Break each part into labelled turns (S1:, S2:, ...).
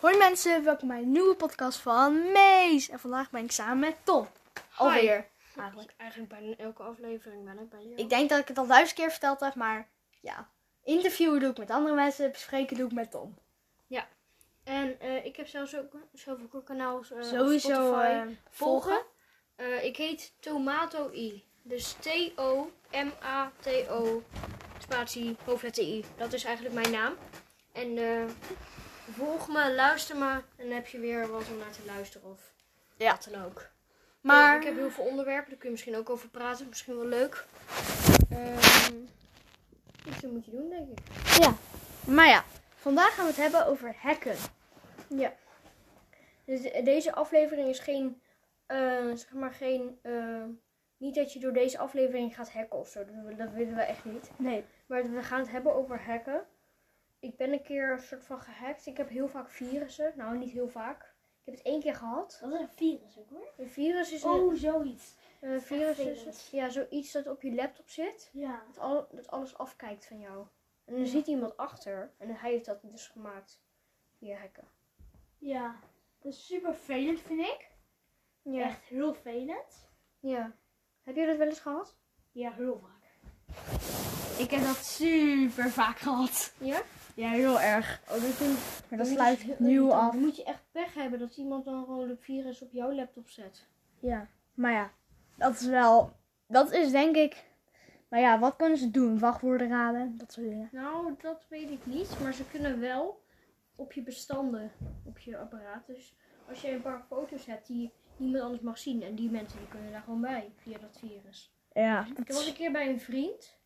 S1: Hoi mensen, welkom bij een nieuwe podcast van Mees. En vandaag ben ik samen met Tom. Alweer, eigenlijk.
S2: Eigenlijk bijna elke aflevering ben ik bij jou.
S1: Ik denk dat ik het al duizend keer verteld heb, maar ja. Interviewen doe ik met andere mensen, bespreken doe ik met Tom.
S2: En eh, ik heb zelfs ook zelf ook een kanaal eh, op
S1: Sowieso
S2: Spotify.
S1: eh, volgen.
S2: Eh, ik heet Tomato I. Dus T-O-M-A-T-O spatie hoofdletter I. Dat is eigenlijk mijn naam. En eh, volg me, luister me en dan heb je weer wat om naar te luisteren of
S1: Ja.
S2: wat dan ook.
S1: Maar
S2: Ik heb heel veel onderwerpen, daar kun je misschien ook over praten. Misschien wel leuk. Ehm iets moet je doen, denk ik.
S1: Ja, maar ja, vandaag gaan we het hebben over hacken.
S2: Ja. Dus de- deze aflevering is geen, eh, zeg maar geen, eh, niet dat je door deze aflevering gaat hacken of zo. Dat, wil- dat willen we echt niet.
S1: Nee.
S2: Maar we gaan het hebben over hacken. Ik ben een keer een soort van gehackt. Ik heb heel vaak virussen. Nou, niet heel vaak. Ik heb het één keer gehad.
S3: Dat is een virus ook hoor.
S2: Een virus is een, eh,
S3: Oh, zoiets.
S2: een virus is
S3: vervelend.
S2: ja, zoiets dat op je laptop zit.
S3: Ja.
S2: Dat, al, dat alles afkijkt van jou. En dan zit iemand achter. En hij heeft dat dus gemaakt. Via hacken.
S3: Ja. Dat is super vervelend, vind ik. Echt heel vervelend.
S2: Ja. Heb je dat wel eens gehad?
S3: Ja, heel vaak. Ik heb dat super vaak gehad.
S2: Ja?
S3: Ja, heel erg.
S2: Oh, dat doen
S1: Maar dat
S2: Dan moet je
S1: sluit
S2: dus-
S1: nieuw
S2: dan
S1: af.
S2: moet je echt pech hebben dat iemand dan gewoon het virus op jouw laptop zet.
S1: Ja, maar ja, dat is wel, dat is denk ik, maar ja, wat kunnen ze doen? Wachtwoorden raden, dat soort dingen.
S2: Nou, dat weet ik niet, maar ze kunnen wel op je bestanden, op je apparaat. Dus als je een paar foto's hebt die niemand anders mag zien en die mensen die kunnen daar gewoon bij via dat virus.
S1: Ja, dat
S2: Ik was een keer bij een vriend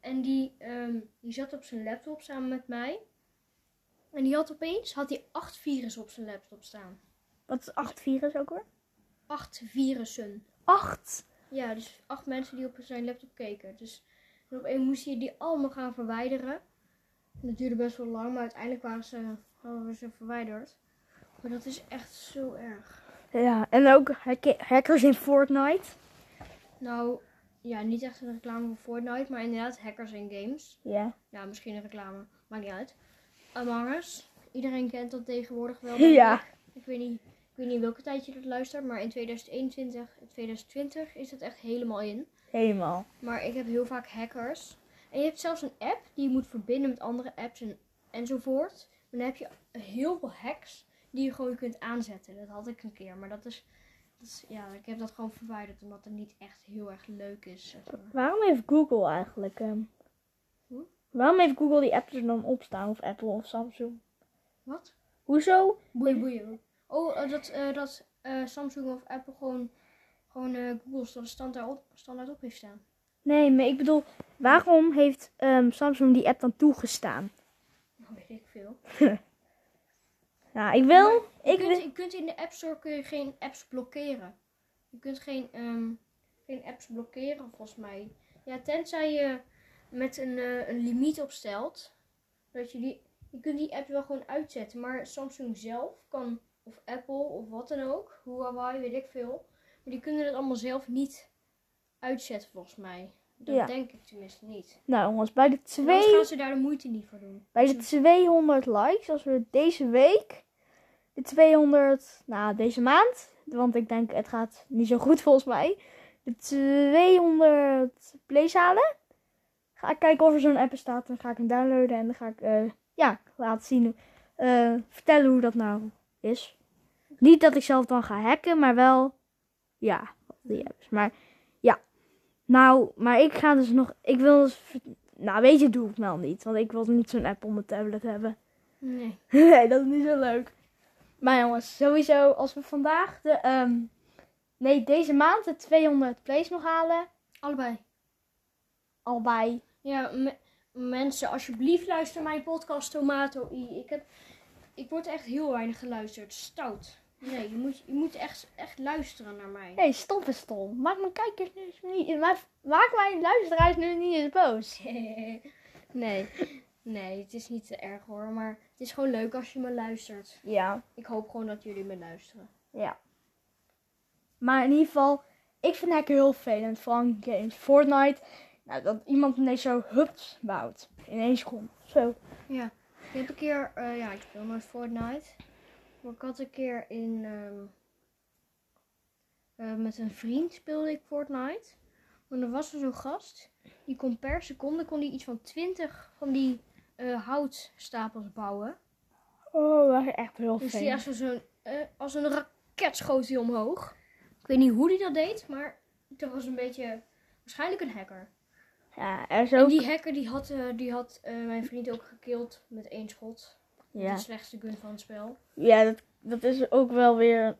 S2: en die, ehm, die zat op zijn laptop samen met mij. En die had opeens had hij acht virussen op zijn laptop staan.
S1: Wat is acht virus ook hoor?
S2: Acht virussen.
S1: Acht!
S2: Ja, dus acht mensen die op zijn laptop keken. Dus en op één moest je die allemaal gaan verwijderen. En dat duurde best wel lang, maar uiteindelijk waren ze, hadden we ze verwijderd. Maar dat is echt zo erg.
S1: Ja, en ook hack- hackers in Fortnite.
S2: Nou, ja, niet echt een reclame voor Fortnite, maar inderdaad hackers in games.
S1: Ja.
S2: Ja, misschien een reclame, maakt niet uit. Among Us, iedereen kent dat tegenwoordig wel. denk
S1: Ja.
S2: ik. Ik weet niet, ik weet niet welke tijd je dat luistert, maar in 2021 en 2020 is dat echt helemaal in.
S1: Helemaal.
S2: Maar ik heb heel vaak hackers. En je hebt zelfs een app die je moet verbinden met andere apps en, enzovoort. Maar dan heb je heel veel hacks die je gewoon kunt aanzetten. Dat had ik een keer, maar dat is, dat is- Ja, ik heb dat gewoon verwijderd omdat het niet echt heel erg leuk is. zeg maar.
S1: Waarom heeft Google eigenlijk... ehm,
S2: Hm?
S1: Waarom heeft Google die apps er dan op staan? Of Apple of Samsung?
S2: Wat?
S1: Hoezo?
S2: Boeien, boeien. Oh, eh, dat, eh, dat eh, Samsung of Apple gewoon, gewoon eh, Google's dat standaard op, standaard op heeft staan.
S1: Nee, maar ik bedoel... Waarom heeft ehm, Samsung die app dan toegestaan?
S2: Dat weet ik veel.
S1: Nou, ik wil...
S2: Je
S1: Ik
S2: kunt,
S1: wil...
S2: je kunt in de App Store kun je geen apps blokkeren. Je kunt geen, ehm, geen apps blokkeren, volgens mij. Ja, tenzij je met een, eh, een limiet opstelt. Dat je, die, je kunt die app wel gewoon uitzetten. Maar Samsung zelf kan, of Apple of wat dan ook, Huawei, weet ik veel. Maar die kunnen het allemaal zelf niet uitzetten, volgens mij. Dat
S1: Ja.
S2: denk ik tenminste niet.
S1: Nou jongens, bij de,
S2: En Anders
S1: twee...
S2: gaan ze daar de moeite niet voor doen.
S1: bij de 200 likes, als we deze week... De 200... Nou, deze maand. Want ik denk, het gaat niet zo goed volgens mij. De 200 plays halen. Ga ik kijken of er zo'n app staat. Dan ga ik hem downloaden en dan ga ik eh, ja, laten zien. eh, vertellen hoe dat nou is. Niet dat ik zelf dan ga hacken, maar wel. Ja, wat die apps. Maar ja. Nou, maar ik ga dus nog. Ik wil. dus ver- nou, weet je, doe ik wel niet. Want ik wil niet zo'n app op mijn tablet hebben.
S2: Nee.
S1: Nee, dat is niet zo leuk. Maar jongens, sowieso als we vandaag de. ehm, nee, deze maand de 200 plays nog halen.
S2: Allebei.
S1: Al bij.
S2: Ja, me- mensen, alsjeblieft luister mijn podcast Tomato I. Ik, heb, ik word echt heel weinig geluisterd. Stout. Nee, je moet, je moet echt, echt luisteren naar mij.
S1: Nee, stop is stom. Maak mijn kijkers nu eens niet. Maak maak mijn luisteraars nu niet eens boos.
S2: nee, nee, het is niet te erg hoor. Maar het is gewoon leuk als je me luistert.
S1: Ja,
S2: Ik hoop gewoon dat jullie me luisteren.
S1: ja. Maar in ieder geval, ik vind hacken heel vervelend. Vooral in games. Fortnite. Nou, dat iemand ineens zo hups bouwt. In één seconde. Zo.
S2: Ja, ik heb een keer, eh, ja, ik speel nooit Fortnite. Maar ik had een keer in. ehm, eh, met een vriend speelde ik Fortnite. En er was er zo'n gast. Die kon per seconde kon die iets van 20 van die eh, houtstapels bouwen.
S1: Oh, dat is echt heel
S2: Dus die
S1: veel.
S2: als, een zo'n, eh, als een raket schoot hij omhoog. Ik weet niet hoe die dat deed, maar dat was een beetje. Waarschijnlijk een hacker.
S1: Ja, er is
S2: En
S1: ook...
S2: die hacker die had, eh, die had eh, mijn vriend ook gekild met één schot.
S1: Ja,
S2: De slechtste gun van het spel.
S1: ja dat, dat is ook wel weer...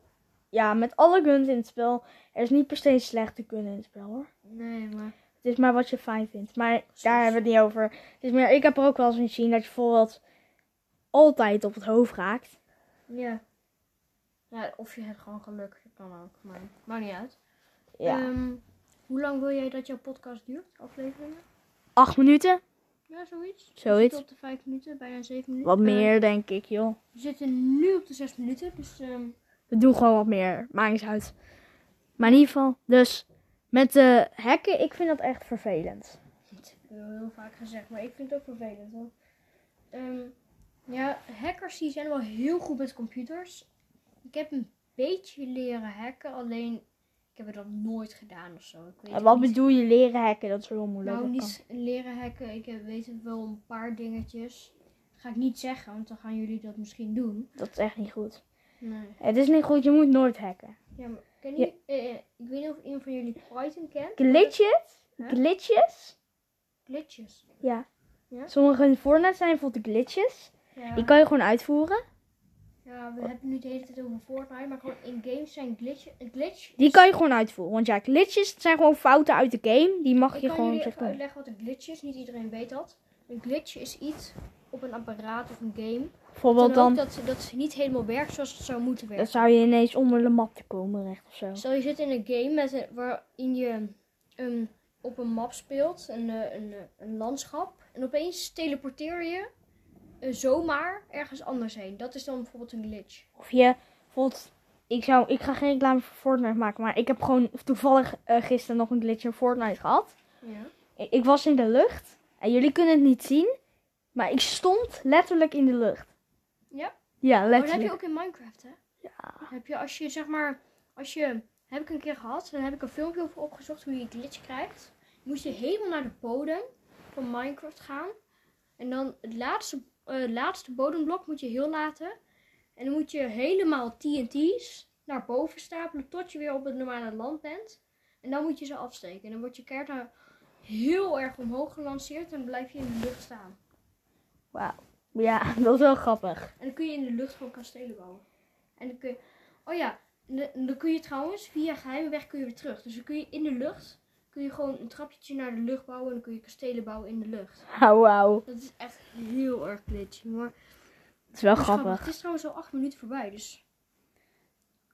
S1: Ja, met alle guns in het spel. Er is niet per se een slechte gun in het spel, hoor.
S2: Nee, maar.
S1: Het is maar wat je fijn vindt. Maar daar hebben we het niet over. Het is meer, ik heb er ook wel eens in zien dat je bijvoorbeeld altijd op het hoofd raakt.
S2: Ja. ja. Of je hebt gewoon geluk. Dat kan ook. Maar maakt niet uit.
S1: Ja.
S2: Ehm, hoe lang wil jij dat jouw podcast duurt? Afleveringen?
S1: Acht minuten?
S2: Ja, zoiets. We
S1: Zoiets.
S2: zitten op de vijf minuten, bijna zeven minuten.
S1: Wat
S2: Eh,
S1: meer, denk ik, joh.
S2: we zitten nu op de zes minuten, dus ehm,
S1: We doen gewoon wat meer. Maakt niet uit. Maar in ieder geval, dus met de hekken, ik vind dat echt vervelend.
S2: dat heb ik al heel vaak gezegd, maar ik vind het ook vervelend. hoor. Ehm, ja, hackers die zijn wel heel goed met computers. Ik heb een beetje leren hacken, alleen ik heb het nog nooit gedaan of zo. Ik weet
S1: En wat
S2: niet.
S1: bedoel je leren hekken? Dat is heel moeilijk.
S2: Nou,
S1: dat kan.
S2: niet leren hacken. Ik heb- weet wel een paar dingetjes. Dat ga ik niet zeggen, want dan gaan jullie dat misschien doen.
S1: Dat is echt niet goed.
S2: Nee.
S1: Het is niet goed, je moet nooit hacken.
S2: Ja, maar ken
S1: Ja.
S2: je, ik weet niet of een van jullie Python kent.
S1: Glitches?
S2: Huh?
S1: Glitches?
S2: Glitches.
S1: Ja.
S2: Ja?
S1: Sommige Fortnite zijn bijvoorbeeld glitches.
S2: Ja.
S1: Die kan je gewoon uitvoeren.
S2: ja, we hebben nu de hele tijd over Fortnite, maar gewoon in games zijn glitches. Een glitch.
S1: Die
S2: is-
S1: kan je gewoon uitvoeren. Want ja, glitches zijn gewoon fouten uit de game. Die mag
S2: Ik
S1: je
S2: kan
S1: gewoon
S2: jullie
S1: zeg
S2: even
S1: maar.
S2: uitleggen wat een glitch is. Niet iedereen weet dat. Een glitch is iets op een apparaat of een game.
S1: Bijvoorbeeld
S2: dan ook
S1: dan,
S2: dat, dat ze niet helemaal werkt zoals het zou moeten werken.
S1: dan zou je ineens onder de mat te komen recht of zo.
S2: Stel je zit in een game met een- waarin je ehm, op een map speelt, een, eh, een, eh, een landschap. En opeens teleporteer je eh, zomaar ergens anders heen. Dat is dan bijvoorbeeld een glitch.
S1: Of je bijvoorbeeld, ik, zou, ik ga geen reclame voor Fortnite maken. Maar ik heb gewoon toevallig eh, gisteren nog een glitch in Fortnite gehad.
S2: Ja.
S1: Ik, ik was in de lucht. En jullie kunnen het niet zien. Maar ik stond letterlijk in de lucht.
S2: Ja?
S1: Ja,
S2: Maar Oh, dat heb je
S1: letterlijk.
S2: ook in Minecraft, hè? Ja. Heb je als je zeg maar, als je, heb ik een keer gehad, dan heb ik een filmpje over opgezocht hoe je een glitch krijgt. Moest je helemaal naar de bodem van Minecraft gaan. En dan het laatste, eh, laatste bodemblok moet je heel laten. En dan moet je helemaal TNT's naar boven stapelen tot je weer op het normale land bent. En dan moet je ze afsteken. En dan wordt je kaart daar heel erg omhoog gelanceerd en blijf je in de lucht staan.
S1: Wauw. Ja, dat is wel grappig.
S2: En dan kun je in de lucht gewoon kastelen bouwen. En dan kun je... Oh ja, en dan- en dan kun je trouwens via geheime weg kun je weer terug. Dus dan kun je in de lucht... Kun je gewoon een trapje naar de lucht bouwen. En dan kun je kastelen bouwen in de lucht.
S1: Ah, wauw.
S2: Dat is echt heel erg glitchy. Maar het is
S1: Dat is wel
S2: grappig.
S1: grappig.
S2: Het is trouwens al acht minuten voorbij. Dus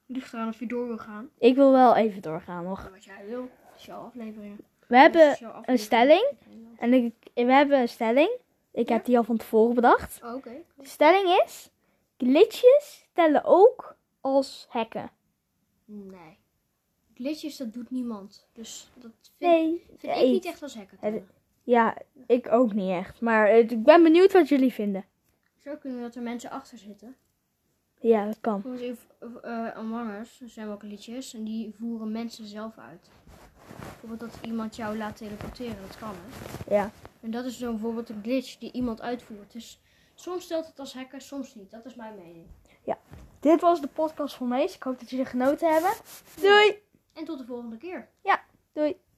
S2: het ligt eraan of je door wil gaan.
S1: Ik wil wel even doorgaan nog.
S2: Wat jij wil. Dat is jouw aflevering.
S1: We hebben een stelling. En ik, we hebben een stelling. Ik
S2: Ja?
S1: heb die al van tevoren bedacht.
S2: Oh, Oké.
S1: De stelling is: glitches tellen ook als hacken.
S2: Nee. Glitches, dat doet niemand. Dus dat vind,
S1: Nee,
S2: vind ik
S1: nee.
S2: niet echt als hacker.
S1: Het- Ja, ik ook niet echt. Maar het- ik ben benieuwd wat jullie vinden.
S2: Zo kunnen dat er mensen achter zitten.
S1: Ja, dat kan.
S2: Volgens mij, eh, eh, Among Us er zijn wel glitches en die voeren mensen zelf uit. Bijvoorbeeld dat iemand jou laat teleporteren, dat kan hè.
S1: Ja.
S2: En dat is zo bijvoorbeeld een glitch die iemand uitvoert. Dus soms stelt het als hacker, soms niet. Dat is mijn mening.
S1: Dit was de podcast van Mees. Ik hoop dat jullie genoten hebben. Doei!
S2: En tot de volgende keer.